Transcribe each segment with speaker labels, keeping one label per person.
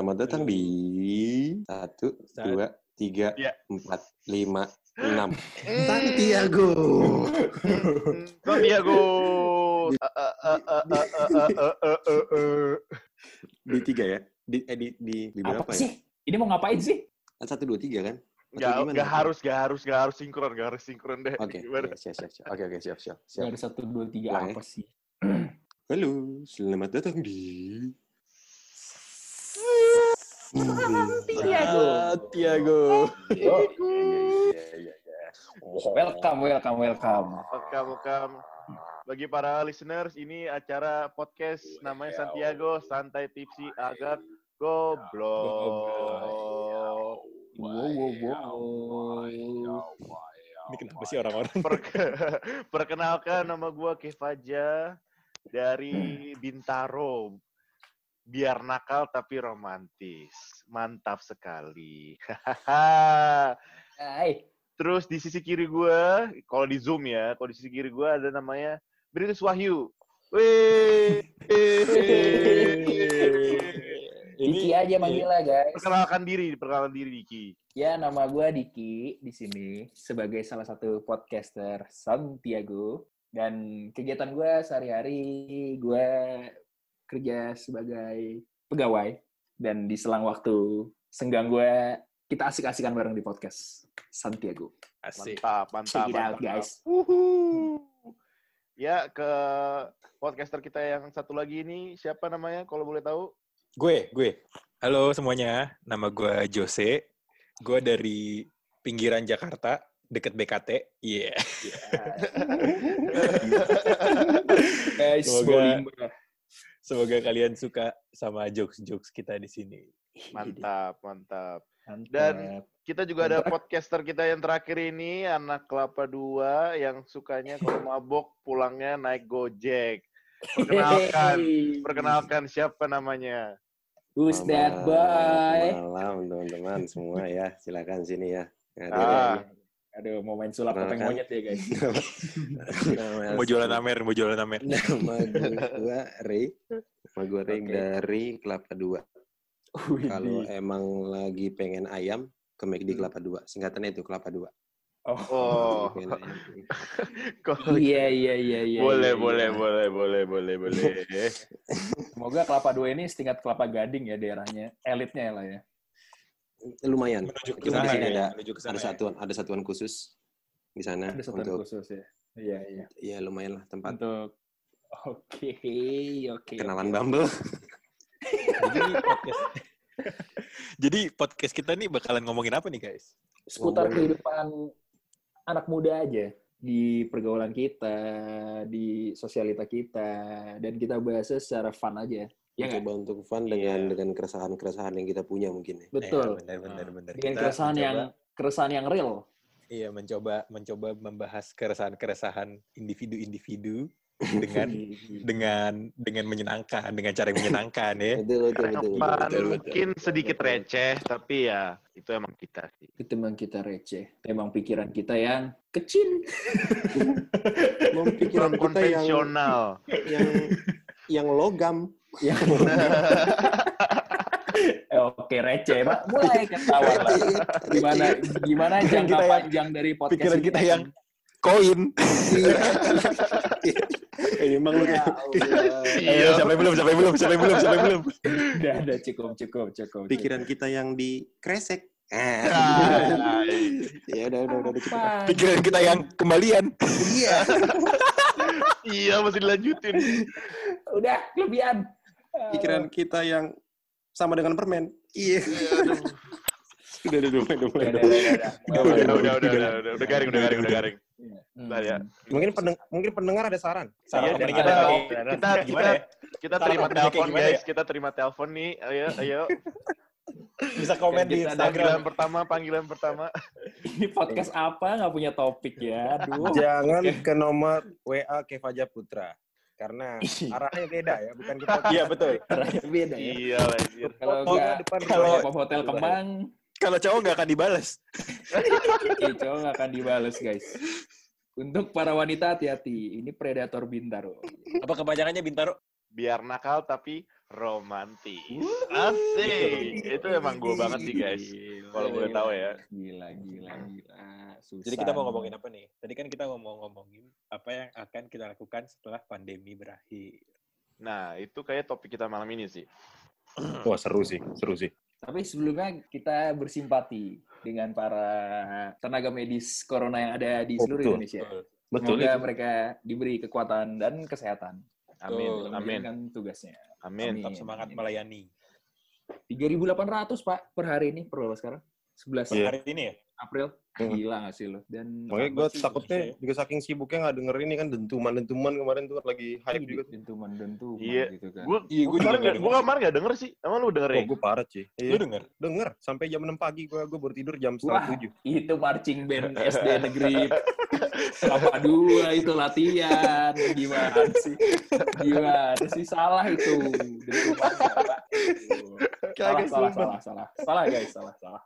Speaker 1: Selamat datang di satu,
Speaker 2: Satu.
Speaker 1: dua, tiga,
Speaker 3: Ya.
Speaker 1: empat, lima, enam.
Speaker 3: Eh.
Speaker 4: Santiago.
Speaker 3: Santiago. Eh, eh, eh, eh, eh, eh, eh, eh, eh, eh.
Speaker 1: Di tiga ya? Di eh, di di, di berapa
Speaker 2: Apa
Speaker 1: ya?
Speaker 2: sih? Ini mau ngapain sih?
Speaker 1: Kan satu dua tiga kan?
Speaker 3: Nggak
Speaker 1: Atau gimana?
Speaker 3: nggak harus, nggak harus, nggak harus sinkron, nggak harus sinkron deh.
Speaker 1: Oke,
Speaker 3: Gimana?
Speaker 1: oke, siap, siap, siap. Oke, oke, siap, siap, siap.
Speaker 2: Gak ada satu dua tiga
Speaker 1: Ulang ya.
Speaker 2: apa sih?
Speaker 1: Halo, selamat datang di
Speaker 2: Santiago.
Speaker 1: Santiago.
Speaker 2: Yo,
Speaker 1: Iya, iya, iya.
Speaker 2: Welcome, welcome, welcome.
Speaker 3: Welcome, welcome. Bagi para listeners, ini acara podcast namanya Santiago, Santai Tipsi Agak Goblok.
Speaker 2: Wow, wow, wow.
Speaker 1: oh,
Speaker 5: Ini kenapa sih orang-orang?
Speaker 3: Perke- Perkenalkan nama gua Kefaja dari Bintaro. Biar nakal tapi romantis. Mantap sekali. Hahaha.
Speaker 2: Hai.
Speaker 3: Terus di sisi kiri gua, kalau di Zoom ya, kalau di sisi kiri gua ada namanya Brilius Wahyu. Wih.
Speaker 2: Diki aja manggilnya guys.
Speaker 3: Perkenalkan diri, perkenalkan diri Diki.
Speaker 2: Ya, nama gue Diki di sini sebagai salah satu podcaster Santiago. Dan kegiatan gue sehari-hari, gue kerja sebagai pegawai. Dan di selang waktu senggang gue, kita asik-asikan bareng di podcast Santiago.
Speaker 5: Asik.
Speaker 3: Mantap, mantap,
Speaker 2: Check it out,
Speaker 3: mantap.
Speaker 2: guys.
Speaker 3: Wuhu. Ya, ke podcaster kita yang satu lagi ini, siapa namanya kalau boleh tahu?
Speaker 5: Gue, gue. Halo semuanya, nama gue Jose. Gue dari pinggiran Jakarta, deket BKT. Iya.
Speaker 3: Ya,
Speaker 2: guys,
Speaker 5: Semoga- Semoga kalian suka sama jokes-jokes kita di sini.
Speaker 3: Mantap, mantap. Dan-
Speaker 2: Dan
Speaker 3: Kita juga ada
Speaker 2: Mantap.
Speaker 3: podcaster kita yang terakhir ini, anak kelapa dua yang sukanya kalau mabok pulangnya naik gojek. Perkenalkan, perkenalkan siapa namanya?
Speaker 2: Who's that
Speaker 1: Selamat
Speaker 2: boy?
Speaker 1: Malam, teman-teman semua ya. Silakan sini ya.
Speaker 3: Ah.
Speaker 2: Aduh, mau main sulap topeng
Speaker 1: Perkenalkan.
Speaker 2: monyet ya, guys.
Speaker 1: ya.
Speaker 5: Mau jualan amer, mau jualan amer.
Speaker 1: Nama gue Nah, Ray. Nama gue Ray
Speaker 2: Oke.
Speaker 1: dari Kelapa Dua.
Speaker 2: Widih.
Speaker 1: Kalau emang lagi pengen ayam, ke
Speaker 2: Hmm.
Speaker 1: McD Kelapa Dua. Singkatannya itu Kelapa Dua.
Speaker 3: Oh,
Speaker 1: Pengen ayam.
Speaker 3: kok-
Speaker 2: Iya, iya, iya, iya.
Speaker 3: boleh,
Speaker 2: iya,
Speaker 3: boleh,
Speaker 2: iya.
Speaker 3: boleh, boleh, boleh, boleh,
Speaker 2: Semoga Kelapa Dua ini setingkat Kelapa Gading ya daerahnya, elitnya ya lah ya.
Speaker 1: Lumayan.
Speaker 5: Menuju
Speaker 1: Kita di
Speaker 5: ke sana
Speaker 1: sini
Speaker 5: ya,
Speaker 1: ada
Speaker 5: menuju ke sana
Speaker 1: ada
Speaker 5: ya.
Speaker 1: satuan, ada satuan khusus di
Speaker 5: Eh,
Speaker 1: sana
Speaker 2: Ada satuan
Speaker 1: untuk
Speaker 2: khusus ya. Iya, iya.
Speaker 1: ya lumayan lah tempat
Speaker 2: Untuk Oke, oke.
Speaker 5: Iya,
Speaker 1: kenalan
Speaker 2: oke.
Speaker 1: Bumble.
Speaker 5: Jadi podcast. Jadi podcast kita nih bakalan ngomongin apa nih guys?
Speaker 2: Seputar kehidupan anak muda aja di pergaulan kita, di sosialita kita, dan kita bahasnya secara fun aja. Ya
Speaker 5: Iya,
Speaker 2: nggak?
Speaker 1: Coba untuk fun dengan dengan keresahan-keresahan yang kita punya mungkin ya.
Speaker 2: Betul.
Speaker 5: Iya, benar, benar, benar.
Speaker 2: Dengan
Speaker 5: Kita
Speaker 2: keresahan yang
Speaker 5: mencoba-
Speaker 2: keresahan yang real.
Speaker 5: Iya, mencoba mencoba membahas keresahan-keresahan individu-individu dengan dengan dengan menyenangkan dengan cara yang menyenangkan ya
Speaker 1: Betul, betul, betul. betul,
Speaker 3: Relevan,
Speaker 1: betul, betul.
Speaker 3: mungkin
Speaker 1: Betul,
Speaker 3: sedikit
Speaker 1: betul.
Speaker 3: receh, tapi ya itu emang kita sih.
Speaker 2: Itu memang kita receh. Memang pikiran kita yang kecil.
Speaker 1: Mempikiran
Speaker 3: Kurang
Speaker 1: kita yang
Speaker 3: konvensional.
Speaker 1: yang yang logam. Yang
Speaker 2: Eh, Oke, receh, Pak. Mulai
Speaker 5: Iya.
Speaker 2: ketawa lah. Gimana gimana
Speaker 5: Pikiran
Speaker 2: jangka
Speaker 5: kita yang-
Speaker 2: panjang dari podcast
Speaker 5: pikiran
Speaker 2: ini?
Speaker 5: kita yang koin
Speaker 1: ini emang lu
Speaker 2: Ya
Speaker 1: kayak
Speaker 2: Allah.
Speaker 5: Ayo, Eh, siapa yang belum siapa yang belum siapa yang belum siapa yang belum
Speaker 2: Udah, udah cukup, cukup, cukup.
Speaker 1: pikiran kita yang di kresek.
Speaker 3: Ah,
Speaker 1: ya udah udah udah, udah cukup.
Speaker 2: Apa?
Speaker 5: pikiran kita yang kembalian
Speaker 1: Iya.
Speaker 3: Iya, masih dilanjutin.
Speaker 2: Udah, kelebihan.
Speaker 1: Pikiran kita yang sama dengan permen. Iya.
Speaker 3: Aduh.
Speaker 1: Udah udah udah, udah,
Speaker 2: Udah,
Speaker 1: udah, udah.
Speaker 2: udah, udah, Hmm. udah.
Speaker 3: Udah, udah, udah, udah, udah, udah, udah garing, udah garing, udah garing.
Speaker 2: Hmm.
Speaker 3: Bentar ya.
Speaker 1: Mungkin pendeng- mungkin pendengar ada saran.
Speaker 5: Saran
Speaker 3: Iya,
Speaker 5: temen
Speaker 3: kita-
Speaker 5: dari-
Speaker 3: kita-
Speaker 5: dari- gimana ya?
Speaker 3: Kita terima
Speaker 5: Saran apa nih, kayak
Speaker 3: telepon
Speaker 5: gimana
Speaker 3: guys,
Speaker 5: ya?
Speaker 3: kita terima telepon nih. Ayo, ayo.
Speaker 5: bisa komen di
Speaker 2: Kita ada
Speaker 5: Instagram
Speaker 3: Panggilan pertama, panggilan pertama.
Speaker 2: Ini podcast apa? Nggak punya topik ya. Aduh.
Speaker 4: Jangan ke nomor WA Kefaja Putra. Karena arahnya beda ya, bukan kita.
Speaker 5: iya betul
Speaker 2: Beda ya.
Speaker 3: Iya, anjir.
Speaker 2: Kalau
Speaker 4: Oh,
Speaker 5: "Iya,
Speaker 2: nggak,
Speaker 4: depan
Speaker 2: kalau
Speaker 5: Kalau-
Speaker 2: pop hotel kembang,
Speaker 5: kalau cowok nggak akan dibalas
Speaker 2: itu nggak akan dibales guys. Untuk para wanita hati-hati, ini predator bintaro.
Speaker 5: apa kepanjangannya bintaro
Speaker 3: Biar nakal tapi romantis.
Speaker 5: Uh.
Speaker 3: Asik. Itu emang gue banget sih guys.
Speaker 5: Iya.
Speaker 3: Kalau
Speaker 2: Gila,
Speaker 3: boleh
Speaker 2: gila.
Speaker 3: tahu ya.
Speaker 2: Gila, gila, gila. Susah.
Speaker 5: Jadi kita mau ngomongin apa nih? Tadi kan kita ngomong-ngomongin apa yang akan kita lakukan setelah pandemi berakhir.
Speaker 3: Nah, itu kayak topik kita malam ini sih.
Speaker 1: Wah seru sih, seru sih.
Speaker 2: Tapi sebelumnya kita bersimpati dengan para tenaga medis corona yang ada di
Speaker 1: Oh,
Speaker 2: seluruh
Speaker 1: betul.
Speaker 5: Iya.
Speaker 2: Indonesia.
Speaker 1: Betul
Speaker 2: Semoga
Speaker 1: itu.
Speaker 2: mereka diberi kekuatan dan kesehatan.
Speaker 5: Betul. Iya.
Speaker 3: Amin, amin,
Speaker 2: Menjalankan tugasnya.
Speaker 3: amin.
Speaker 5: Tetap
Speaker 2: Amin.
Speaker 5: semangat melayani.
Speaker 2: 3.800 Pak per hari ini per berapa sekarang? 11
Speaker 1: Iya.
Speaker 5: Hari ini ya?
Speaker 2: April.
Speaker 1: Hmm.
Speaker 2: Gila gak sih lo? Dan
Speaker 1: Makanya gue
Speaker 5: Tambah sih,
Speaker 1: takutnya
Speaker 5: maksudnya.
Speaker 1: juga saking sibuknya nggak denger ini kan dentuman-dentuman kemarin tuh lagi hype juga. tuh.
Speaker 2: dentuman-dentuman
Speaker 3: Iya.
Speaker 2: gitu kan.
Speaker 3: Gue
Speaker 5: Iya, gua juga
Speaker 3: kemarin
Speaker 5: nggak
Speaker 3: gak, gua kemarin gak denger sih. Emang lu
Speaker 1: Oh,
Speaker 3: dengerin?
Speaker 1: gue parah sih.
Speaker 5: Lu
Speaker 1: Iya,
Speaker 5: denger?
Speaker 1: denger. Sampai jam 6 pagi gue gue baru tidur jam
Speaker 2: Wah.
Speaker 1: setengah tujuh.
Speaker 2: Itu marching band SD negeri Kelapa dua itu latihan gimana sih? Gimana sih salah itu? Dari rumahnya, Pak. Salah,
Speaker 1: Kagak,
Speaker 2: salah,
Speaker 1: sumpah.
Speaker 2: salah, salah, salah guys, salah, salah.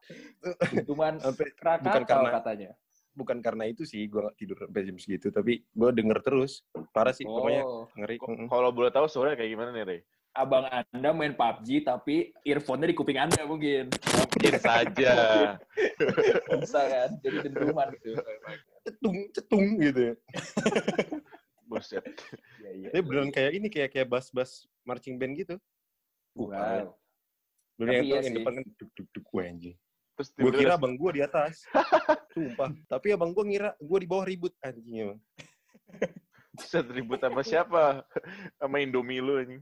Speaker 2: Cuman
Speaker 1: Sampai bukan
Speaker 2: Krakatau
Speaker 1: karena-
Speaker 2: katanya.
Speaker 1: bukan karena itu sih gue nggak tidur sampai jam segitu, tapi gue denger terus. Parah sih, pokoknya
Speaker 2: Oh,
Speaker 1: ngeri. Mm-mm.
Speaker 3: Kalau boleh tahu suaranya kayak gimana nih, Rey?
Speaker 2: abang Anda main PUBG tapi earphone-nya di kuping Anda mungkin.
Speaker 3: Mungkin saja.
Speaker 2: Bisa kan? Jadi dentuman gitu.
Speaker 1: Cetung, cetung gitu. ya.
Speaker 3: Buset.
Speaker 2: Iya, iya.
Speaker 1: Ini beneran kayak ini kayak kayak bass-bass marching band gitu.
Speaker 2: Wow.
Speaker 1: Bener yang
Speaker 2: Tapi
Speaker 1: itu
Speaker 2: iya
Speaker 1: yang
Speaker 2: sih.
Speaker 1: depan kan duk duk duk gue anjing.
Speaker 3: Terus
Speaker 1: Gue
Speaker 3: tiba-tiba-
Speaker 1: kira abang gue di atas. Sumpah. Tapi abang gue ngira gue di bawah ribut anjing emang.
Speaker 3: Buset, ribut sama siapa? sama Indomie lu anjing.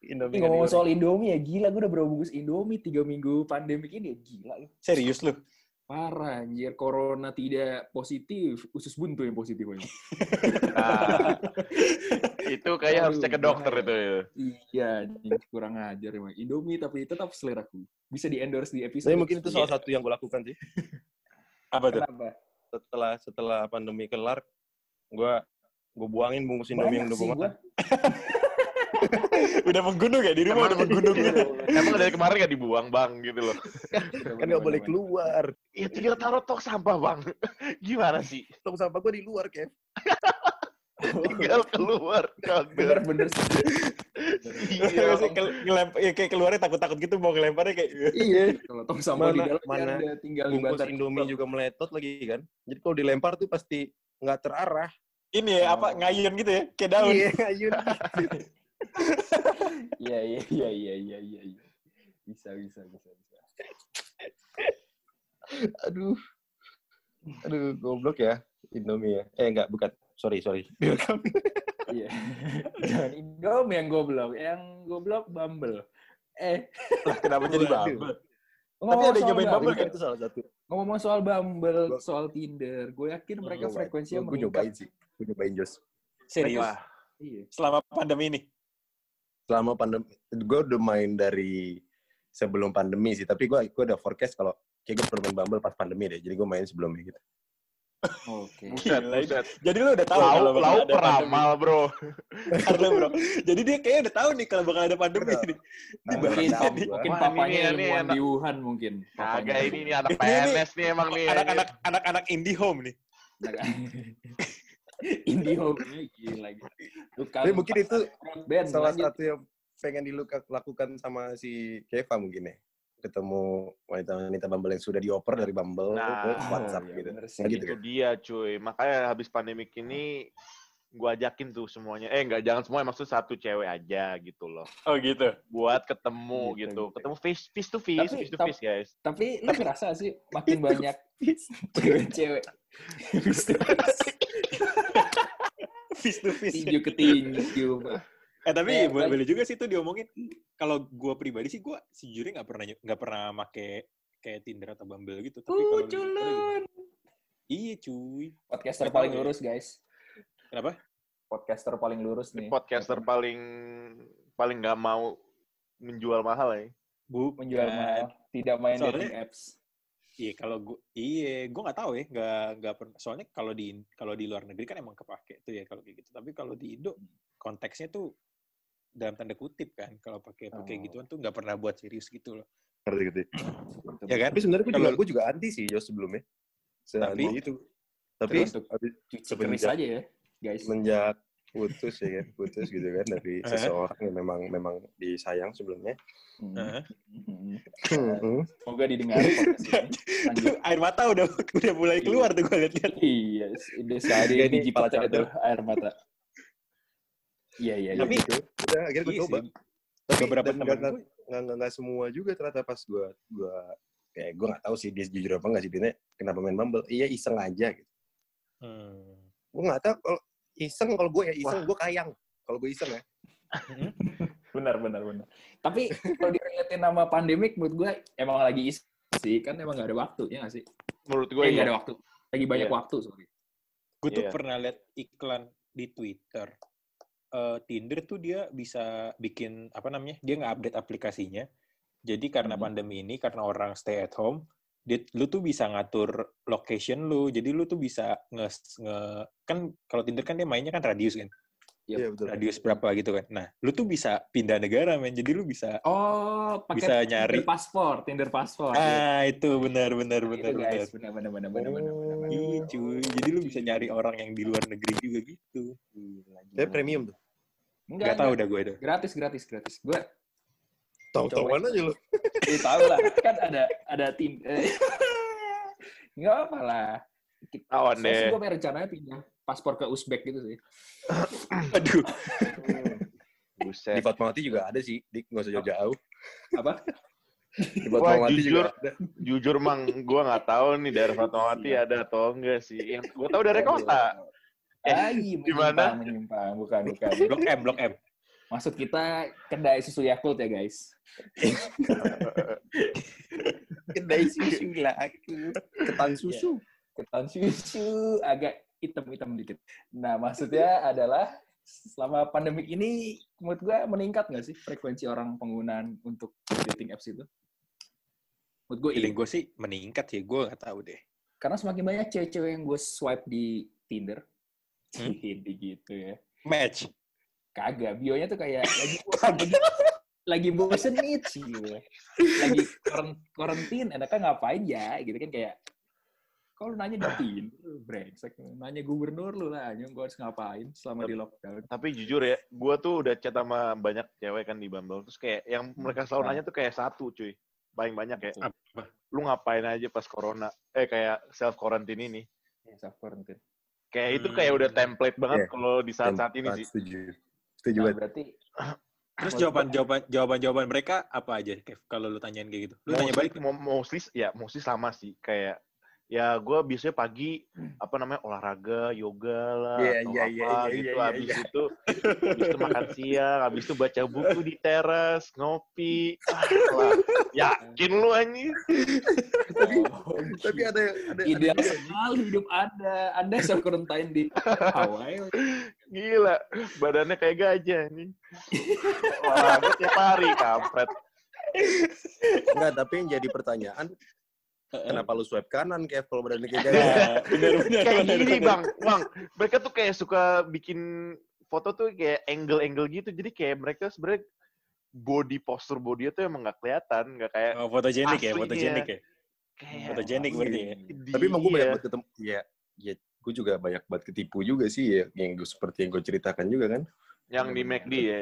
Speaker 1: Indomie
Speaker 2: Tapi
Speaker 1: kan
Speaker 2: ngomong
Speaker 1: goreng.
Speaker 2: soal Indomie ya gila, gue udah berapa bungkus Indomie tiga minggu pandemi ini ya gila. lu.
Speaker 5: Serius lu?
Speaker 2: Parah anjir, corona tidak positif, usus buntu yang positif aja.
Speaker 3: Nah, itu kayak harus
Speaker 2: Aduh,
Speaker 3: cek ke dokter
Speaker 2: bahaya.
Speaker 3: itu. ya.
Speaker 2: iya, anjing, kurang ajar emang. Indomie tapi tetap seleraku. Bisa di endorse di episode.
Speaker 1: Tapi mungkin itu
Speaker 2: Iya.
Speaker 1: salah satu yang gue lakukan sih.
Speaker 5: Apa tuh?
Speaker 2: Kenapa?
Speaker 1: Setelah setelah pandemi kelar, gue gue buangin bungkus Indomie yang
Speaker 2: Banyak
Speaker 1: udah
Speaker 2: sih
Speaker 1: gue
Speaker 2: gue.
Speaker 1: makan.
Speaker 5: Udah menggunung ya? Di rumah
Speaker 3: Emang-
Speaker 5: udah menggunung.
Speaker 2: Iya.
Speaker 3: Emang dari kemarin gak dibuang, Bang, gitu loh.
Speaker 1: Kan gak boleh keluar.
Speaker 3: Ya tinggal taruh tok sampah, Bang. Gimana sih?
Speaker 1: Tong sampah gue di luar, Kev.
Speaker 3: Tinggal keluar. kagak.
Speaker 2: Bener-bener sih.
Speaker 3: Iya. Bang.
Speaker 5: Ngelempar, ya kayak keluarnya takut-takut gitu mau ngelemparnya kayak
Speaker 2: Iya. Kalau tong sampah di
Speaker 1: Mana-
Speaker 2: dalam
Speaker 1: mana
Speaker 2: ya udah tinggal
Speaker 1: Bungkus
Speaker 2: dibantar.
Speaker 1: Indomie juga meletot lagi kan. Jadi kalau dilempar tuh pasti nggak terarah.
Speaker 5: ini ya apa
Speaker 2: Oh.
Speaker 5: ngayun gitu ya kayak daun.
Speaker 1: Iya,
Speaker 2: Iya, iya, iya, iya, iya, iya, iya. Bisa, bisa, bisa, bisa.
Speaker 1: aduh. Aduh, goblok ya. Indomie ya. Eh, enggak, bukan. Sorry, sorry. Direkam.
Speaker 2: Iya. Jangan Indomie yang goblok. Yang goblok Bumble. Eh,
Speaker 5: Lah kenapa jadi
Speaker 1: Waduh.
Speaker 5: babat?
Speaker 2: ngomong
Speaker 5: ada yang nyobain Bumble
Speaker 1: kan itu Oh, salah satu.
Speaker 2: Ngomong soal Bumble, soal Tinder, gue yakin mereka
Speaker 1: Gua-
Speaker 2: frekuensinya
Speaker 1: Oh, gua- gua nyobain sih. Gue nyobain Jos.
Speaker 5: Serius.
Speaker 3: Wah,
Speaker 2: Iya.
Speaker 5: Selama pandemi ini.
Speaker 1: Selama pandemi, gue udah main dari sebelum pandemi sih. Tapi gue gue udah forecast kalau kayak gue perlu main Bumble pas pandemi deh. Jadi gue main sebelumnya gitu.
Speaker 2: Oke.
Speaker 1: Nah,
Speaker 3: Buset,
Speaker 5: Gila, ini.
Speaker 3: buset.
Speaker 5: Jadi lu udah tahu kalau
Speaker 3: Lau, lau
Speaker 5: bakal ada pandemi.
Speaker 3: peramal, bro.
Speaker 5: Bentar dulu, bro. Jadi dia kayaknya udah tahu nih kalau bakal ada pandemi
Speaker 1: Udah.
Speaker 5: nih.
Speaker 2: Mungkin,
Speaker 1: Tahu
Speaker 5: jadi-
Speaker 1: gua.
Speaker 2: Nah, mungkin
Speaker 3: Wah, ini
Speaker 2: papanya
Speaker 3: nih, ini
Speaker 2: ilmuwan
Speaker 3: enak.
Speaker 2: di Wuhan mungkin.
Speaker 3: Kagak
Speaker 2: Papanya.
Speaker 3: ini nih anak
Speaker 5: Ini nih,
Speaker 3: PNS nih emang nih.
Speaker 5: Anak-anak anak-anak indie home nih.
Speaker 2: Indie hobi gila gitu. Bukan
Speaker 1: Tapi mungkin itu
Speaker 2: band
Speaker 1: salah
Speaker 2: lanjut.
Speaker 1: satu yang pengen dilakukan sama si Keva mungkin ya. Ketemu wanita-wanita Bumble yang sudah dioper dari Bumble
Speaker 3: Nah.
Speaker 1: ke WhatsApp
Speaker 2: Iya,
Speaker 1: gitu.
Speaker 2: bener sih.
Speaker 1: Nah, gitu
Speaker 3: Itu
Speaker 1: kan.
Speaker 3: dia cuy. Makanya habis pandemik ini gua ajakin tuh semuanya. Eh enggak jangan semua maksud satu cewek aja gitu loh.
Speaker 5: Oh gitu.
Speaker 3: Buat ketemu
Speaker 2: Gitu,
Speaker 3: gitu.
Speaker 2: gitu.
Speaker 3: Ketemu face face to face,
Speaker 2: Tapi-
Speaker 3: face to
Speaker 2: tapi-
Speaker 3: face guys.
Speaker 2: Tapi lu ngerasa sih makin banyak cewek-cewek Habis itu
Speaker 5: Face to face.
Speaker 2: tinju ke tinju. Pak.
Speaker 5: Eh tapi
Speaker 2: Eh,
Speaker 5: boleh
Speaker 2: baik.
Speaker 5: boleh juga sih itu diomongin. Kalau gua pribadi sih gua sejujurnya nggak pernah nggak pernah make kayak Tinder atau Bumble gitu. Tapi kalau
Speaker 2: Uh,
Speaker 5: lu-
Speaker 2: culun.
Speaker 5: Iya cuy.
Speaker 2: Podcaster
Speaker 5: Nggak tahu
Speaker 2: paling
Speaker 5: ya.
Speaker 2: lurus, guys.
Speaker 5: Kenapa?
Speaker 2: Podcaster paling lurus
Speaker 3: Ini
Speaker 2: nih.
Speaker 3: podcaster paling paling nggak mau menjual mahal ya.
Speaker 5: Bu
Speaker 2: menjual mahal, tidak main
Speaker 5: Kan. Soalnya-
Speaker 2: dating apps.
Speaker 5: Iya kalau gue iya gue nggak tahu ya nggak nggak pernah soalnya kalau di kalau di luar negeri kan emang kepake tuh ya kalau kayak gitu tapi kalau di Indo konteksnya tuh dalam tanda kutip kan kalau pakai pakai
Speaker 2: Oh.
Speaker 5: gituan tuh nggak pernah buat serius gitu loh
Speaker 1: Ngerti gitu.
Speaker 2: Ya
Speaker 1: Ya
Speaker 2: kan?
Speaker 1: kan? Tapi sebenarnya gue juga,
Speaker 5: Kalau-
Speaker 1: gue juga anti sih Jos sebelumnya. Se
Speaker 5: Tapi-
Speaker 1: anti itu. Tapi
Speaker 2: Tergantung.
Speaker 1: abis-
Speaker 2: Cuci keris
Speaker 1: semenjak,
Speaker 2: aja ya, guys.
Speaker 1: semenjak putus ya kan putus gitu kan dari
Speaker 5: Eh.
Speaker 1: seseorang yang memang memang disayang sebelumnya
Speaker 5: Heeh. Eh.
Speaker 2: Hmm.
Speaker 1: Heeh.
Speaker 2: Semoga didengar podcast ini. Lanjut.
Speaker 5: Tuh, air mata udah udah mulai keluar tuh gue lihat-lihat.
Speaker 2: Iya, udah sehari
Speaker 1: Jadi,
Speaker 2: biji
Speaker 1: kepala
Speaker 2: patah
Speaker 1: cadel.
Speaker 2: itu air mata. Iya, iya, iya.
Speaker 5: Tapi-
Speaker 1: gitu. udah akhirnya gue
Speaker 5: Iya
Speaker 1: coba
Speaker 5: sih.
Speaker 1: tapi
Speaker 5: Beberapa
Speaker 1: dan
Speaker 5: teman
Speaker 1: nggak-
Speaker 5: gue
Speaker 1: nggak nggak nggak semua juga ternyata pas gue gue ya gue nggak tahu sih dia jujur apa nggak sih dia kenapa main Bumble iya iseng aja gitu
Speaker 5: Hmm.
Speaker 1: gue nggak tahu kalau iseng kalau gue ya iseng gue kayang kalau gue iseng ya
Speaker 2: Benar, benar, benar. Tapi kalau dilihatin nama pandemik, menurut gue emang lagi isi sih. Kan emang gak ada waktunya nggak sih?
Speaker 3: Menurut
Speaker 5: Oh,
Speaker 3: gue
Speaker 2: Gue
Speaker 3: iya.
Speaker 2: gak ada waktu. Lagi banyak
Speaker 3: Iya.
Speaker 2: waktu, sorry.
Speaker 5: Gue tuh
Speaker 3: Iya.
Speaker 5: pernah lihat iklan di Twitter. Eh, Tinder tuh dia bisa bikin apa namanya? Dia nggak update aplikasinya. Jadi karena
Speaker 2: Mhm.
Speaker 5: pandemi ini, karena orang stay at home, dia, lu tuh bisa ngatur location lu. Jadi lu tuh bisa nge, nge- kan kalau Tinder kan dia mainnya kan radius kan,
Speaker 2: Yep.
Speaker 1: iya betul
Speaker 5: radius berapa gitu kan. Nah, lu tuh bisa pindah negara men. Jadi lu bisa
Speaker 2: Oh, pakai
Speaker 5: Bisa nyari.
Speaker 2: Tinder paspor, Tinder paspor.
Speaker 5: ah itu benar benar
Speaker 2: Iya.
Speaker 5: benar
Speaker 2: Itu,
Speaker 5: benar.
Speaker 2: guys, benar, benar, benar, benar, benar. benar.
Speaker 5: Iya cuy. Jadi lu bisa nyari orang yang di luar negeri juga gitu.
Speaker 2: Gila, gila.
Speaker 1: Tapi premium tuh
Speaker 2: Enggak,
Speaker 5: Gak tahu dah gue itu.
Speaker 2: Gratis, gratis, gratis. Gue
Speaker 1: Iya, tahu-tahuan aja lu
Speaker 2: Ya, tahu lah, kan ada ada tim. eh, Nggak apa lah. Kita-
Speaker 3: Awan
Speaker 2: Saya sih
Speaker 3: deh.
Speaker 2: gue pengen rencananya pindah paspor ke Uzbek gitu sih.
Speaker 5: Aduh.
Speaker 1: di
Speaker 3: Buset.
Speaker 1: Fatmawati juga ada sih di nggak usah jauh-jauh
Speaker 2: Apa?
Speaker 1: di
Speaker 3: Wah,
Speaker 1: Fatmawati
Speaker 3: jujur,
Speaker 1: juga ada
Speaker 3: jujur mang, gue nggak tahu nih daerah Fatmawati ada atau enggak sih. Yang gue tahu dari kota. Eh,
Speaker 2: Ay,
Speaker 3: di
Speaker 2: menyimpang,
Speaker 3: mana?
Speaker 2: menyimpang. Bukan, bukan.
Speaker 5: Blok M, Blok M.
Speaker 2: Maksud kita kedai susu Yakult ya, guys.
Speaker 1: kedai susu Iya. lah aku ketan susu
Speaker 2: Ketan susu agak hitam-hitam dikit. Nah, maksudnya adalah selama pandemik ini menurut gue meningkat nggak sih frekuensi orang penggunaan untuk dating apps itu? Menurut gue
Speaker 5: Feeling gue sih meningkat ya, gue gak tahu deh.
Speaker 2: Karena semakin banyak cewek-cewek yang gue swipe di Tinder.
Speaker 5: Hmm?
Speaker 2: Jadi gitu ya.
Speaker 5: Match.
Speaker 2: Kagak, bionya tuh kayak lagi lagi, lagi bosen nih, cie. Lagi koren- karantin, enaknya ngapain ya? Gitu kan kayak, kok lu nanya di Tinder, lu brengsek. Nanya gubernur lu lah, nyong gue harus ngapain selama di lockdown.
Speaker 3: Tapi jujur ya, gue tuh udah chat sama banyak cewek kan di Bumble. Terus kayak yang mereka selalu nanya tuh kayak satu cuy. Paling banyak ya.
Speaker 5: Apa?
Speaker 3: Lu ngapain aja pas corona? Eh kayak self quarantine ini.
Speaker 2: Ya, self quarantine.
Speaker 3: Kayak itu
Speaker 5: Hmm.
Speaker 3: kayak udah template banget
Speaker 1: Iya.
Speaker 3: kalau di saat-saat ini sih.
Speaker 1: setuju setuju
Speaker 2: Nah,
Speaker 1: banget
Speaker 2: berarti
Speaker 5: Terus
Speaker 2: Menurut
Speaker 5: jawaban jawaban jawaban jawaban mereka apa aja? Kev, kalau lu tanyain kayak gitu, lu tanya
Speaker 3: Mostly-
Speaker 5: balik.
Speaker 3: mo- Mostly, ya mostly sama sih. Kayak ya gue biasanya pagi apa namanya olahraga, yoga lah,
Speaker 1: Hmm. Iya,
Speaker 3: atau
Speaker 1: iya,
Speaker 3: apa
Speaker 1: iya, iya,
Speaker 3: gitu.
Speaker 1: iya,
Speaker 3: habis itu, habis itu makan siang, habis itu baca buku di teras, ngopi. Ah, lah. Yakin lu anjing?
Speaker 2: oh,
Speaker 1: tapi ada ada, ada
Speaker 2: ideal sekali hidup Anda. Anda self quarantine di Hawaii.
Speaker 3: Gila, badannya kayak gajah anjing. Olahraga tiap hari, kampret.
Speaker 1: enggak tapi yang jadi pertanyaan kenapa lu swipe kanan kayak kalau badannya kayak gitu? gini
Speaker 3: Iya.
Speaker 5: benar benar
Speaker 3: Kayak gini bang, bang. Mereka tuh kayak suka bikin foto tuh kayak angle-angle gitu. Jadi kayak mereka sebenarnya body postur body tuh emang nggak kelihatan, nggak kayak
Speaker 5: Oh, fotogenik ya,
Speaker 3: Aslinya.
Speaker 5: fotogenik ya.
Speaker 2: Iya.
Speaker 3: kayak
Speaker 5: Fotogenik berarti ya.
Speaker 3: di-
Speaker 1: tapi emang gue banyak
Speaker 3: iya.
Speaker 1: banget ketemu ya ya gue juga banyak banget ketipu juga sih ya yang gue seperti yang gue ceritakan juga kan
Speaker 3: yang di McD ya.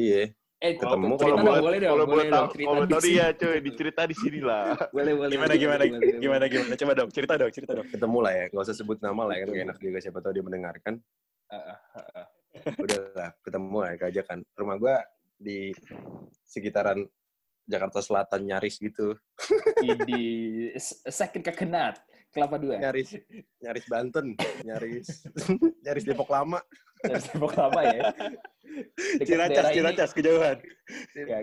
Speaker 1: iya
Speaker 2: Eh,
Speaker 1: Ketemu.
Speaker 2: cerita
Speaker 3: Kalau
Speaker 2: dong,
Speaker 3: boleh,
Speaker 2: boleh dong,
Speaker 3: kalau boleh
Speaker 2: boleh
Speaker 3: tahu,
Speaker 2: dong, cerita
Speaker 3: kalau
Speaker 2: di
Speaker 3: tahu
Speaker 2: sini.
Speaker 3: ya cuy, dicerita di sini lah.
Speaker 2: Boleh, boleh.
Speaker 5: Gimana
Speaker 2: boleh,
Speaker 5: gimana
Speaker 2: boleh, boleh.
Speaker 5: gimana gimana? Coba dong, cerita dong, cerita dong.
Speaker 1: ketemu lah ya nggak usah sebut nama lah ya kan nggak enak juga siapa tahu dia mendengarkan
Speaker 2: Ah,
Speaker 1: udah lah ketemu lah ya keajakan rumah gue di sekitaran Jakarta Selatan nyaris gitu
Speaker 2: di sakit kekenat kelapa dua
Speaker 1: nyaris nyaris Banten nyaris nyaris Depok Lama
Speaker 2: dari Depok Lama ya Dekat
Speaker 5: Ciracas,
Speaker 2: daerah ini-
Speaker 5: ciracas kejauhan.
Speaker 2: ya,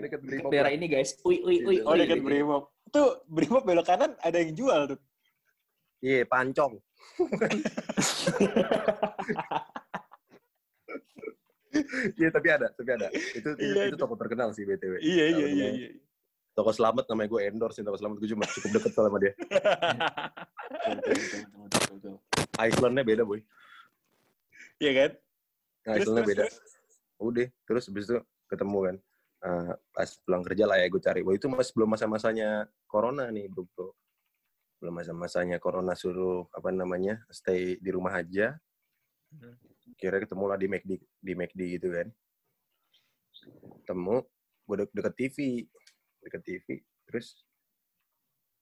Speaker 1: deket
Speaker 2: dekat
Speaker 1: Brimob Iya,
Speaker 2: daerah
Speaker 1: lah.
Speaker 2: ini guys ui ui ui
Speaker 5: Oh,
Speaker 2: ui.
Speaker 5: dekat Brimob. Tuh, Brimob belok kanan ada yang jual tuh.
Speaker 1: iya pancong iya tapi ada tapi ada itu itu,
Speaker 5: Iya,
Speaker 1: itu toko terkenal sih btw
Speaker 5: Iya, iya,
Speaker 1: Tahu
Speaker 5: iya,
Speaker 1: namanya.
Speaker 5: iya.
Speaker 1: toko selamat namanya gue endorse toko selamat gue cuma cukup deket sama dia
Speaker 2: Betul, betul, betul, betul.
Speaker 1: Icelandnya beda boy
Speaker 5: Iya kan? Terus,
Speaker 1: Icelandnya
Speaker 5: terus,
Speaker 1: Nah, beda
Speaker 5: terus.
Speaker 1: udah terus habis itu ketemu kan Eh, pas pulang kerja lah ya gue cari wah itu masih belum masa-masanya corona nih bro, bro.
Speaker 5: Hmm.
Speaker 1: belum masa-masanya corona suruh apa namanya stay di rumah aja kira ketemu lah di McD di McD gitu kan ketemu gue de- deket TV deket TV terus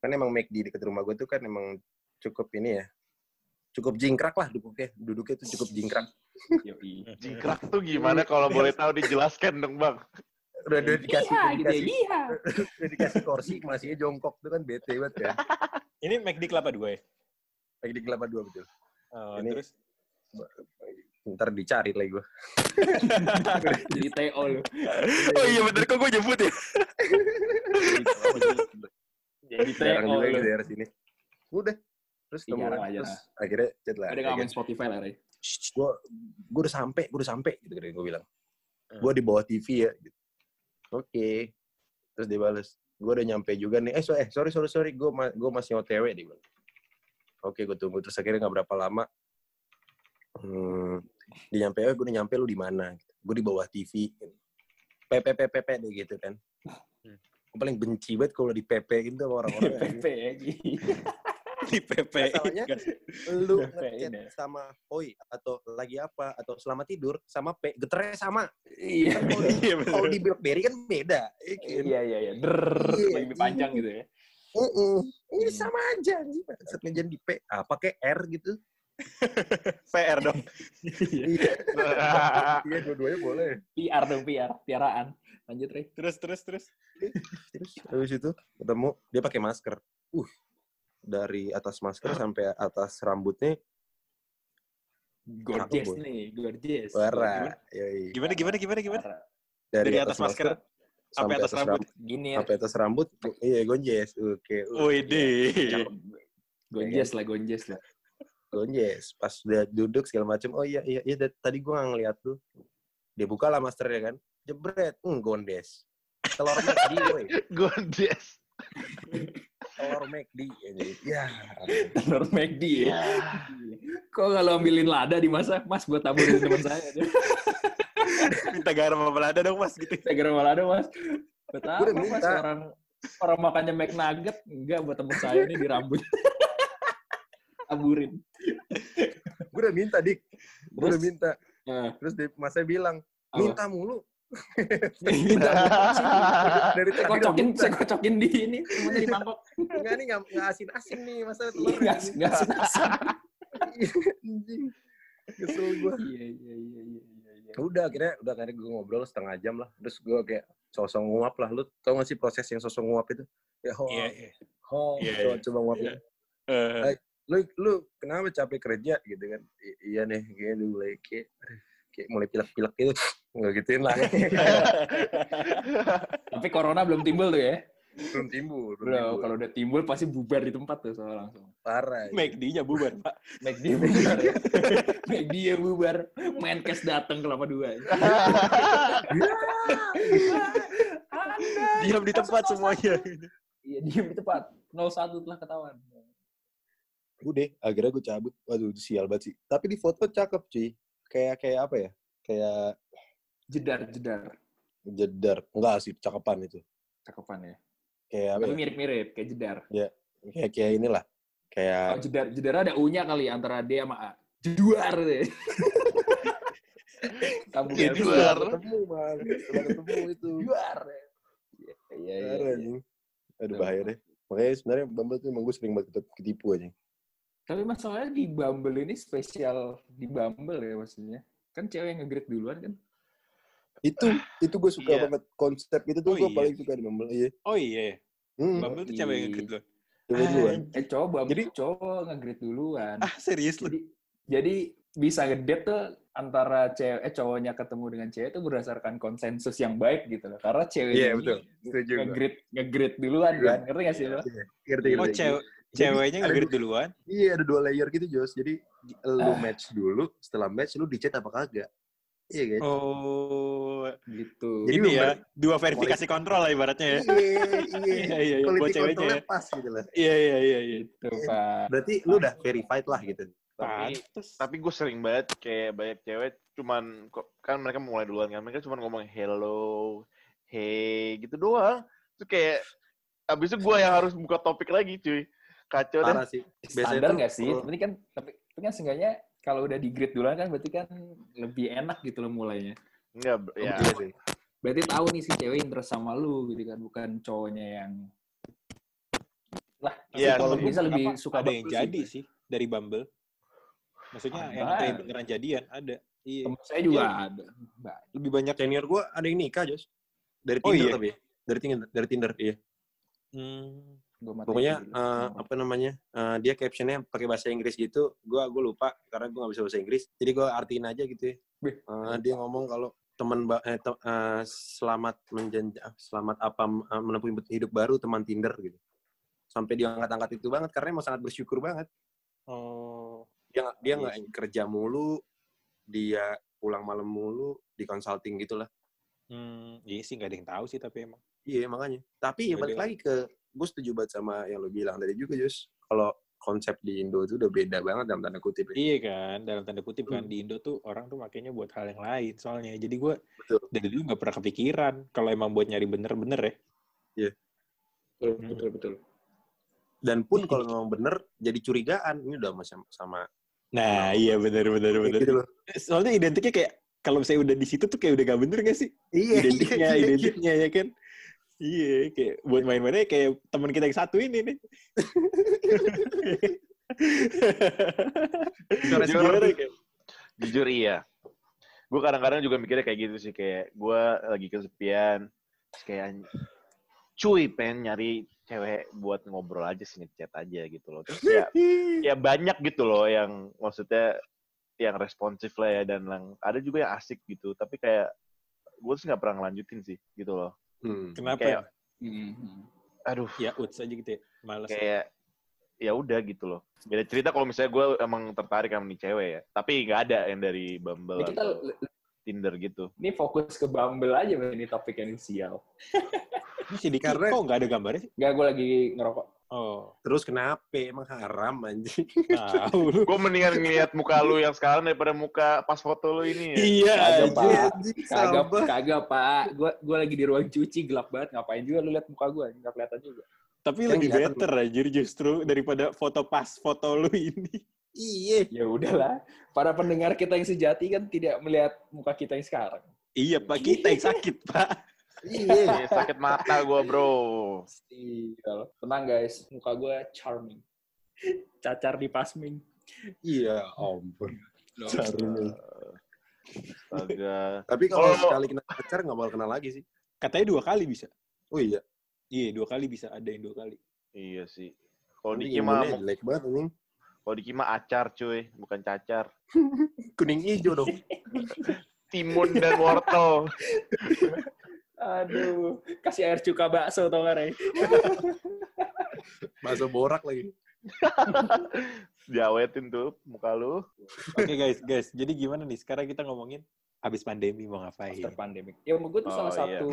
Speaker 1: kan emang McD deket rumah gue tuh kan emang cukup ini ya cukup jingkrak lah duduknya duduknya tuh cukup jingkrak
Speaker 2: Yoi.
Speaker 3: Jingkrak tuh gimana kalau boleh tahu dijelaskan dong bang.
Speaker 1: udah, udah dikasih
Speaker 2: Iya,
Speaker 1: udah
Speaker 2: gitu ya.
Speaker 1: dikasih
Speaker 2: Iya.
Speaker 1: udah dikasih kursi masih jongkok tuh kan bete banget kan
Speaker 5: Ini McD Kelapa Dua ya?
Speaker 1: McD kelapa dua betul
Speaker 5: Oh,
Speaker 1: Ini-
Speaker 5: terus?
Speaker 1: ntar dicari lagi gue
Speaker 2: Jadi TO lu.
Speaker 5: oh iya bener kok gue nyebut ya?
Speaker 2: Jadi
Speaker 1: jarang
Speaker 2: TO
Speaker 1: juga gitu ya.
Speaker 2: lu.
Speaker 1: di daerah sini udah terus
Speaker 2: Iya,
Speaker 1: ketemu
Speaker 2: jarang
Speaker 1: lagi,
Speaker 2: aja
Speaker 1: terus
Speaker 2: lah.
Speaker 1: akhirnya chat lah
Speaker 2: Ada nggak main Spotify lah, Ray?
Speaker 1: gue gue udah sampai gue udah sampai gitu kan gue bilang
Speaker 5: Hmm.
Speaker 1: gue di bawah TV ya gitu. oke terus dia balas gue udah nyampe juga nih eh, so, eh sorry sorry sorry gue ma- gue masih otw dia bilang oke gue tunggu terus akhirnya nggak berapa lama hmm, dia nyampe eh gue udah nyampe lu di mana gitu. gue di bawah TV gitu. PP PP deh gitu kan
Speaker 5: Hmm.
Speaker 1: gue paling benci banget kalau di PP itu sama orang-orang
Speaker 2: PP ya, Ji.
Speaker 5: Di PP.
Speaker 1: Masalahnya, lu
Speaker 2: Udah
Speaker 1: ngechat
Speaker 2: PIN ya?
Speaker 1: sama oi atau lagi apa atau selamat tidur sama p geternya sama
Speaker 2: Iya.
Speaker 1: Kan kalau di-
Speaker 5: Iya bener.
Speaker 1: kalau di BlackBerry kan beda ya kan?
Speaker 2: Iya, iya, iya. Drrrr,
Speaker 1: Iya,
Speaker 2: lebih panjang gitu ya.
Speaker 1: Mm-mm. ini
Speaker 2: Hmm.
Speaker 1: sama aja anjing. Bangsat, ngejalan di p apa kayak r gitu
Speaker 5: PR dong.
Speaker 1: iya iya dua-duanya boleh
Speaker 2: PR dong, PR. Tiaraan. Lanjut, Ray.
Speaker 5: Terus, terus, terus.
Speaker 1: terus habis itu ketemu dia pakai masker uh dari atas masker sampai atas rambutnya
Speaker 2: Gorgeous
Speaker 1: Boy.
Speaker 2: nih, gorgeous.
Speaker 1: warna yoi.
Speaker 5: Gimana, gimana, gimana, gimana?
Speaker 1: dari,
Speaker 5: Dari atas masker sampai atas rambut.
Speaker 2: Gini ya,
Speaker 1: sampai atas rambut go- iya gonjes oke uh,
Speaker 5: Wede.
Speaker 2: Gonjes lah, gonjes lah.
Speaker 1: gonjes pas udah duduk segala macam oh iya iya iya dat- tadi gua nggak ngeliat tuh dia buka lah masternya kan jebret hmm, gondes telur McD woi
Speaker 3: Gondes.
Speaker 1: telur McD anjing. ya
Speaker 2: Telur McD ya. Kok kalau ambilin lada dimasak, mas buat taburin teman saya.
Speaker 5: Minta garam sama lada dong mas gitu.
Speaker 2: Saya kira malah ada, mas. Buat apa,
Speaker 1: udah
Speaker 2: mas?
Speaker 1: minta.
Speaker 2: Orang, orang makannya McNugget, enggak buat teman saya nih di rambut. Taburin.
Speaker 1: gue udah minta dik gue udah
Speaker 2: Terus?
Speaker 1: minta
Speaker 2: Nah,
Speaker 1: terus dia masnya bilang
Speaker 2: Apa?
Speaker 1: minta mulu dari tadi
Speaker 2: saya
Speaker 1: udah
Speaker 2: kocokin,
Speaker 1: minta.
Speaker 2: saya kocokin di ini, semuanya di mangkok.
Speaker 1: enggak nih nggak nggak asin asin nih masa telur
Speaker 2: Iya, nggak- nggak senasib.
Speaker 1: anjing kesel gue
Speaker 2: Iya, iya, iya, iya, iya, iya.
Speaker 1: Ya udah akhirnya udah akhirnya gue ngobrol setengah jam lah terus gue kayak sosok nguap lah lu tau gak sih proses yang sosok nguap itu ya ho
Speaker 5: Iya, iya.
Speaker 1: ho
Speaker 5: Iya,
Speaker 1: Oh, coba,
Speaker 5: iya.
Speaker 1: coba nguap
Speaker 5: Iya. Eh,
Speaker 1: lu lu kenapa capek kerja gitu kan "I- iya nih kayak dulu mulai kayak kayak mulai pilek-pilek gitu nggak gituin lah
Speaker 2: Tapi corona belum timbul tuh ya.
Speaker 1: belum timbul belum
Speaker 2: Belum,
Speaker 1: timbul.
Speaker 2: kalau udah timbul pasti bubar di tempat tuh soal langsung.
Speaker 1: parah iya.
Speaker 5: McD-nya bubar, Pak.
Speaker 2: Make dia bubar. Make dia bubar. Menkes datang kelapa dua.
Speaker 5: Diam di tempat semuanya. gitu.
Speaker 2: Iya, diam di tempat. 01 telah ketahuan.
Speaker 1: udah akhirnya gue cabut waduh itu sial banget sih tapi di foto cakep cuy kayak kayak apa ya kayak
Speaker 2: Jedar, jedar.
Speaker 1: jedar enggak sih cakepan itu
Speaker 2: Cakepan ya.
Speaker 1: kayak apa
Speaker 2: Tapi
Speaker 1: ya?
Speaker 2: mirip-mirip kayak jedar.
Speaker 1: kayak kayak inilah kayak
Speaker 2: Oh, jedar, jedar ada U-nya kali ya, antara D sama A. Jeduar deh. Kamu
Speaker 3: Jedar.
Speaker 2: jeduar.
Speaker 1: Udah
Speaker 3: Keluar.
Speaker 1: ketemu bang udah ketemu itu
Speaker 2: Jeduar. Iya, iya, iya,
Speaker 1: Parah,
Speaker 2: iya.
Speaker 1: anjing. aduh bahaya deh makanya sebenarnya Bumble tuh emang gue sering banget ketipu aja
Speaker 2: Tapi masalahnya di Bumble ini spesial di Bumble ya maksudnya. Kan cewek yang nge-grade duluan kan.
Speaker 1: itu itu gue suka
Speaker 3: Iya.
Speaker 1: banget konsep itu tuh
Speaker 5: Oh,
Speaker 1: gue
Speaker 5: iya.
Speaker 1: paling suka di Bumble iya
Speaker 5: Oh iya,
Speaker 1: hmm,
Speaker 5: Bumble tuh cewek yang gitu loh.
Speaker 1: coba duluan
Speaker 2: Eh cowok Bumble,
Speaker 1: Jadi-
Speaker 2: cowok nge-grade duluan.
Speaker 5: Ah, serius lu?
Speaker 2: jadi, jadi bisa ngedate tuh antara cewek eh, cowoknya ketemu dengan cewek itu berdasarkan konsensus yang baik gitu loh. Karena cewek
Speaker 1: Iya,
Speaker 2: ini
Speaker 1: betul. setuju gue.
Speaker 2: nge-grade nge-grade duluan
Speaker 1: Iya.
Speaker 2: kan. Ngerti gak sih lo?
Speaker 1: Iya, ngerti
Speaker 5: Oh,
Speaker 1: ngerti.
Speaker 5: cewek
Speaker 1: Jadi
Speaker 5: ceweknya
Speaker 1: ada
Speaker 5: ngerit
Speaker 1: dua-
Speaker 5: duluan.
Speaker 1: iya ada dua layer gitu Jos jadi lu match dulu setelah match lu di chat apa kagak iya kan
Speaker 5: Oh,
Speaker 2: Gitu.
Speaker 1: Jadi
Speaker 5: ini ya,
Speaker 1: member-
Speaker 5: dua verifikasi kontrol lah ibaratnya ya.
Speaker 1: iya
Speaker 5: Iya,
Speaker 1: iya
Speaker 5: iya, iya, buat
Speaker 1: quality
Speaker 5: ceweknya ya.
Speaker 1: controlnya pas gitu lah
Speaker 5: Iya, iya, iya, iya.
Speaker 2: Gitu, Pak.
Speaker 1: berarti lu udah verified lah gitu
Speaker 3: Tapi-
Speaker 5: Pantes.
Speaker 3: Tapi gue sering banget kayak banyak cewek cuman kok- kan mereka mulai duluan kan mereka cuman ngomong hello, hey gitu doang. Terus kayak abis itu gue yang harus buka topik lagi cuy. Kacau deh.
Speaker 1: parah sih biasanya
Speaker 2: Standar
Speaker 1: tuh-
Speaker 2: gak sih?
Speaker 1: Oh.
Speaker 2: Tapi kan tapi, tapi kan seenggaknya kalau udah di grade duluan kan berarti kan lebih enak gitu loh mulainya.
Speaker 3: Enggak, ya.
Speaker 1: Iya sih.
Speaker 2: Berarti tahu nih si cewek interest sama lu gitu kan, bukan cowoknya yang lah.
Speaker 5: Tapi
Speaker 3: Iya,
Speaker 5: kalau
Speaker 3: sih.
Speaker 5: gue
Speaker 2: Bisa lebih
Speaker 5: apa,
Speaker 2: suka gitu.
Speaker 5: ada yang
Speaker 2: Bumble sih
Speaker 5: jadi
Speaker 2: gue.
Speaker 5: sih dari Bumble. Maksudnya yang
Speaker 2: Ada.
Speaker 5: kayak beneran jadian ada. Iya.
Speaker 2: Temen saya juga
Speaker 5: Iya.
Speaker 2: ada. Mbak.
Speaker 5: Lebih banyak.
Speaker 1: Senior gue ada yang nikah, Jos. Dari
Speaker 5: Oh,
Speaker 1: Tinder
Speaker 5: iya?
Speaker 1: tapi ya. Dari Tinder, dari Tinder, iya.
Speaker 5: Hmm,
Speaker 2: Gua matiin Hmm.
Speaker 1: Pokoknya
Speaker 2: dulu.
Speaker 1: eh, apa namanya? eh, dia captionnya pakai bahasa Inggris gitu. Gua gua lupa karena gua nggak bisa bahasa Inggris. Jadi gua artiin aja gitu ya.
Speaker 2: Wih.
Speaker 1: Eh, dia ngomong kalau teman ba- eh, te- eh, selamat menjanji ah, selamat apa eh, menempuh hidup baru teman Tinder gitu. Sampai dia angkat-angkat itu banget karena emang sangat bersyukur banget.
Speaker 5: oh,
Speaker 1: dia nggak- dia
Speaker 5: Iya
Speaker 1: nggak kerja mulu dia pulang malam mulu di consulting gitu gitulah
Speaker 5: hmm, iya sih nggak ada yang tahu sih tapi emang.
Speaker 1: iya makanya tapi ya
Speaker 5: Iya,
Speaker 1: balik
Speaker 5: dia-
Speaker 1: lagi ke gue setuju banget sama yang lo bilang tadi juga Jus kalau konsep di Indo itu udah beda banget dalam tanda kutip ya.
Speaker 5: Iya kan, dalam tanda kutip kan
Speaker 1: Hmm.
Speaker 5: di Indo tuh orang tuh makainya buat hal yang lain soalnya. Jadi gue
Speaker 1: Betul.
Speaker 5: dari dulu nggak pernah kepikiran kalau emang buat nyari bener-bener ya.
Speaker 2: Betul, betul, betul.
Speaker 1: dan pun kalau memang bener jadi curigaan ini udah sama sama
Speaker 5: Nah, iya bener-bener bener.
Speaker 1: Oh, gitu loh
Speaker 5: Soalnya identiknya kayak kalau saya udah di situ tuh kayak udah gak bener gak sih?
Speaker 1: iya
Speaker 5: Identiknya,
Speaker 1: iya, iya.
Speaker 5: identiknya ya kan? Iya, kayak buat main-mainnya kayak teman kita yang satu ini nih.
Speaker 1: Suara
Speaker 5: Gimana
Speaker 1: seperti-
Speaker 5: kayak-
Speaker 3: Jujur iya. Gue kadang-kadang juga mikirnya kayak gitu sih. Kayak gue lagi kesepian. Terus kayak anj- cuy pengen nyari cewek buat ngobrol aja sih chat aja gitu loh. Terus ya, ya banyak gitu loh yang maksudnya yang responsif lah ya dan yang, ada juga yang asik gitu. Tapi kayak gue sih nggak pernah ngelanjutin sih gitu loh.
Speaker 1: Hmm.
Speaker 5: Kenapa?
Speaker 3: Kayak-
Speaker 2: Hmm.
Speaker 3: Aduh.
Speaker 5: Ya, uts aja gitu ya. Males.
Speaker 3: kayak ya udah gitu loh. Beda cerita kalau misalnya gue emang tertarik sama nih cewek ya. Tapi nggak ada yang dari Bumble
Speaker 2: Ini kita
Speaker 3: atau Tinder gitu.
Speaker 2: ini fokus ke Bumble aja Bang. ini topik yang sial.
Speaker 5: Ini si Diki
Speaker 1: Karena-
Speaker 5: kok nggak ada gambarnya sih?
Speaker 2: Enggak, gue lagi ngerokok.
Speaker 5: Oh,
Speaker 1: terus kenapa emang haram anjing
Speaker 5: tahu lu.
Speaker 3: Gue mendingan ngeliat muka lu yang sekarang daripada muka pas foto lu ini. Ya.
Speaker 5: Iya,
Speaker 2: Kagak,
Speaker 5: anjir.
Speaker 2: Pak.
Speaker 1: Anjing,
Speaker 2: Kagak,
Speaker 1: sabar.
Speaker 2: kagak, Pak. Gue gua lagi di ruang cuci, gelap banget. Ngapain juga lu lihat muka gue? Enggak kelihatan juga.
Speaker 5: Tapi
Speaker 1: Yang
Speaker 5: lebih
Speaker 1: kelihatan.
Speaker 5: better anjir justru daripada foto pas foto lu ini.
Speaker 1: iya
Speaker 2: Ya udahlah. Para pendengar kita yang sejati kan tidak melihat muka kita yang sekarang.
Speaker 5: Iya, Pak, kita yang sakit, Pak.
Speaker 1: iya
Speaker 3: Ini sakit mata gue bro.
Speaker 2: Sial. gitu Tenang guys, muka gue charming. Cacar di pasming.
Speaker 1: iya ampun
Speaker 2: Iya.
Speaker 3: Astaga.
Speaker 1: tapi kalau
Speaker 3: Kalau-
Speaker 1: sekali kena pacar nggak bakal kenal lagi sih
Speaker 5: Katanya dua kali bisa.
Speaker 1: oh iya
Speaker 5: Iya, dua kali bisa. Ada yang dua kali.
Speaker 3: Iya sih. Kalau
Speaker 1: Ini ya?
Speaker 3: Diki mah,
Speaker 1: imunnya jelek banget anjing.
Speaker 3: kalau Diki mah acar cuy, bukan cacar.
Speaker 1: Kuning hijau dong.
Speaker 3: Timun dan wortel.
Speaker 2: Aduh, kasih air cuka bakso tau gak, Ray?
Speaker 1: Bakso borak lagi.
Speaker 3: Diawetin tuh muka lu.
Speaker 5: Oke, guys, guys. Jadi gimana nih? Sekarang kita ngomongin habis pandemi mau ngapain.
Speaker 2: After pandemic. Ya, menurut gue tuh
Speaker 3: Iya. Oh,
Speaker 2: salah
Speaker 3: iya.
Speaker 2: satu,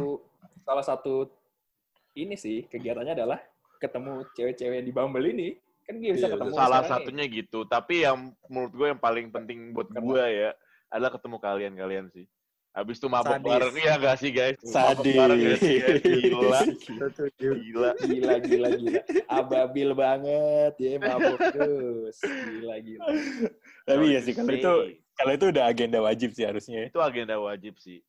Speaker 2: salah satu ini sih, kegiatannya adalah ketemu cewek-cewek di Bumble ini. Kan dia bisa
Speaker 1: Iya,
Speaker 2: ketemu
Speaker 3: salah
Speaker 2: sekarang nih.
Speaker 3: satunya gitu tapi yang menurut gue yang paling penting buat
Speaker 2: Karena-
Speaker 3: gue ya adalah ketemu kalian kalian sih habis itu mabok
Speaker 1: Sadis.
Speaker 3: bareng ya gak sih guys mabok
Speaker 5: Sadis.
Speaker 3: bareng ya sih guys? gila iya. gila
Speaker 2: Gila, gila, gila. Ababil banget, ya mabuk terus. Gila, gila.
Speaker 5: Tapi ya sih, kalau
Speaker 3: Sih.
Speaker 5: itu kalau itu udah agenda wajib sih harusnya.
Speaker 3: itu agenda wajib sih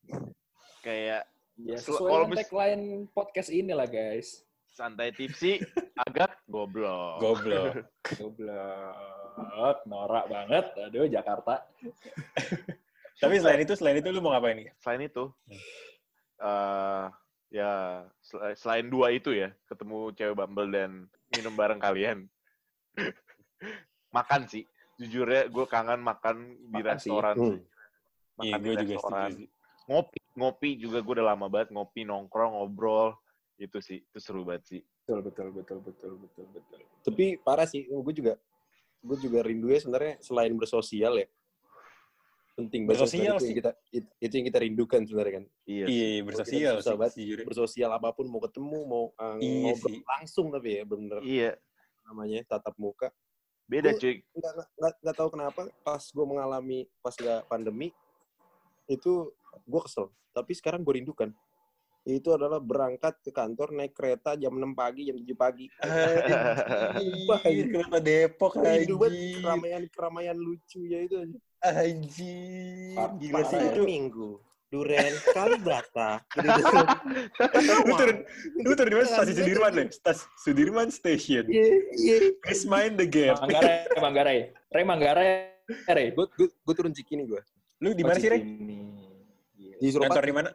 Speaker 3: kayak
Speaker 2: Ya,
Speaker 3: Sel-
Speaker 2: sesuai
Speaker 3: kalau
Speaker 2: dengan
Speaker 3: mis-
Speaker 2: tagline podcast ini lah, guys.
Speaker 3: santai tipsi agak goblok
Speaker 5: Goblok.
Speaker 2: Goblok, norak banget. Aduh, Jakarta.
Speaker 5: Tapi selain itu, selain itu lu mau ngapain nih?
Speaker 3: selain itu
Speaker 5: Hmm.
Speaker 3: eh ya sel- selain dua itu ya ketemu cewek bumble dan minum bareng kalian makan sih jujurnya gue kangen makan di
Speaker 2: Makan sih.
Speaker 3: restoran
Speaker 1: Hmm.
Speaker 3: sih.
Speaker 5: ya. Iya,
Speaker 3: makan di
Speaker 5: gue juga
Speaker 3: restoran.
Speaker 5: setuju sih.
Speaker 3: Ngopi, ngopi juga gue udah lama banget ngopi, nongkrong, ngobrol. Itu sih, itu seru banget sih.
Speaker 2: Betul, betul, betul, betul, betul, betul.
Speaker 1: Tapi parah sih. Gue juga gue juga rindu ya sebenarnya selain bersosial ya. Penting banget sebenarnya
Speaker 5: Bersosial
Speaker 1: itu
Speaker 5: sih.
Speaker 1: yang kita it- itu yang kita rindukan sebenarnya kan.
Speaker 3: Iya.
Speaker 5: Iya,
Speaker 3: sih.
Speaker 5: iya, bersosial
Speaker 1: Susah
Speaker 5: sih.
Speaker 1: banget.
Speaker 5: sejujurnya.
Speaker 1: Bersosial apapun mau ketemu mau uh,
Speaker 5: Iya
Speaker 1: ngobrol
Speaker 5: sih.
Speaker 1: langsung tapi ya bener
Speaker 3: Iya,
Speaker 1: namanya tatap muka.
Speaker 3: beda
Speaker 1: Gua-
Speaker 3: cuy.
Speaker 1: Nggak nggak- nggak nggak tahu kenapa pas gue mengalami pas nggak pandemi itu gue kesel. Tapi sekarang gue rindukan. itu adalah berangkat ke kantor naik kereta jam 6 pagi, jam 7 pagi. Wah,
Speaker 5: Ih, kenapa Depok
Speaker 1: Itu buat
Speaker 5: anjir?
Speaker 1: keramaian-keramaian lucu ya itu.
Speaker 5: Anjir.
Speaker 1: Par-
Speaker 5: Gila sih
Speaker 1: parah.
Speaker 5: itu.
Speaker 6: minggu. Duren Kalibata.
Speaker 1: Gitu.
Speaker 5: Lu turun, lu turun di mana? Stasiun Sudirman nih. Stasiun Sudirman Station.
Speaker 1: Iya.
Speaker 5: Please mind the gap.
Speaker 2: Manggarai, Manggarai. Re Manggarai, Re.
Speaker 1: Gue gue gue turun Cikini gue.
Speaker 5: Lu di mana sih, Rek?
Speaker 2: Ini.
Speaker 1: Di Suropati.
Speaker 5: Kantor di mana?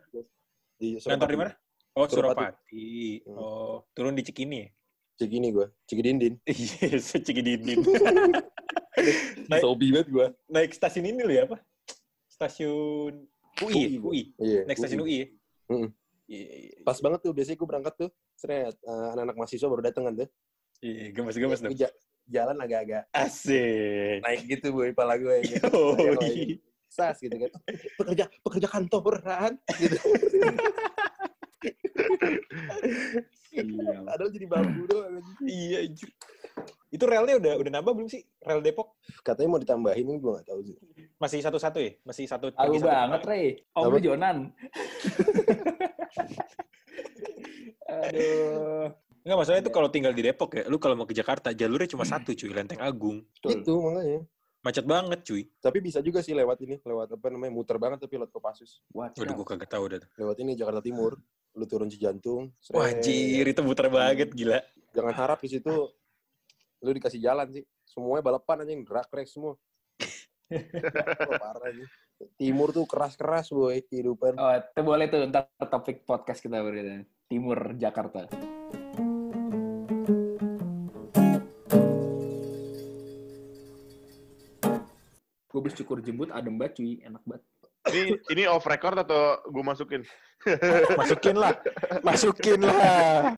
Speaker 1: Di
Speaker 5: Kantor di mana? Oh,
Speaker 1: Suropati.
Speaker 5: Suropati.
Speaker 1: Hmm.
Speaker 5: Oh, turun di Cikini.
Speaker 1: Cikini gue. Cikidindin.
Speaker 5: Iya, Cikidindin. Naik-
Speaker 1: Sobi banget gue.
Speaker 5: Naik stasiun ini lu ya apa? Stasiun UI, ya?
Speaker 1: UI.
Speaker 5: UI.
Speaker 1: Iya.
Speaker 5: Naik stasiun UI. ya?
Speaker 1: Mm-mm.
Speaker 5: Iya, iya, iya.
Speaker 1: Pas banget tuh biasanya gue berangkat tuh. Seret eh, anak-anak mahasiswa baru dateng kan tuh.
Speaker 5: Iya, gemes-gemes dong.
Speaker 1: Gua ja- jalan agak-agak
Speaker 5: Asik. Oh,
Speaker 1: naik gitu boy pala gue ya.
Speaker 5: Yoi.
Speaker 1: Sas gitu kan. Pekerja pekerja kantoran gitu.
Speaker 5: Sial.
Speaker 1: Padahal jadi bambu doang.
Speaker 5: Iya, anjir. Itu relnya udah udah nambah belum sih? Rel Depok
Speaker 1: Katanya mau ditambahin ini gue gak tahu sih.
Speaker 5: masih satu-satu ya? Masih satu
Speaker 2: Tahu
Speaker 5: lagi satu
Speaker 2: banget, Re. Om
Speaker 1: Apa?
Speaker 2: lu Jonan. Aduh.
Speaker 5: Enggak, masalahnya itu kalau tinggal di Depok ya, lu kalau mau ke Jakarta jalurnya cuma satu cuy, Lenteng Agung.
Speaker 1: Itu Gitu, makanya.
Speaker 5: Macet banget cuy.
Speaker 1: Tapi bisa juga sih lewat ini, lewat apa namanya, muter banget tapi lewat Kopassus.
Speaker 5: Waduh, gua kagak tahu dah. Iya,
Speaker 1: Lewat ini Jakarta Timur, lu turun Cijantung. seret.
Speaker 5: Wah, anjir, itu muter banget gila.
Speaker 1: Jangan harap di situ lu dikasih jalan sih. Semuanya balapan anjing, drag race semua. Wah, parah sih. Timur tuh keras-keras boy kehidupan.
Speaker 2: Oh, itu boleh tuh ntar topik podcast kita berarti. ya. Timur Jakarta. Gue habis cukur jembut adem banget cuy, enak banget.
Speaker 3: Ini ini off record atau gue masukin?
Speaker 5: Masukin lah. Masukin lah.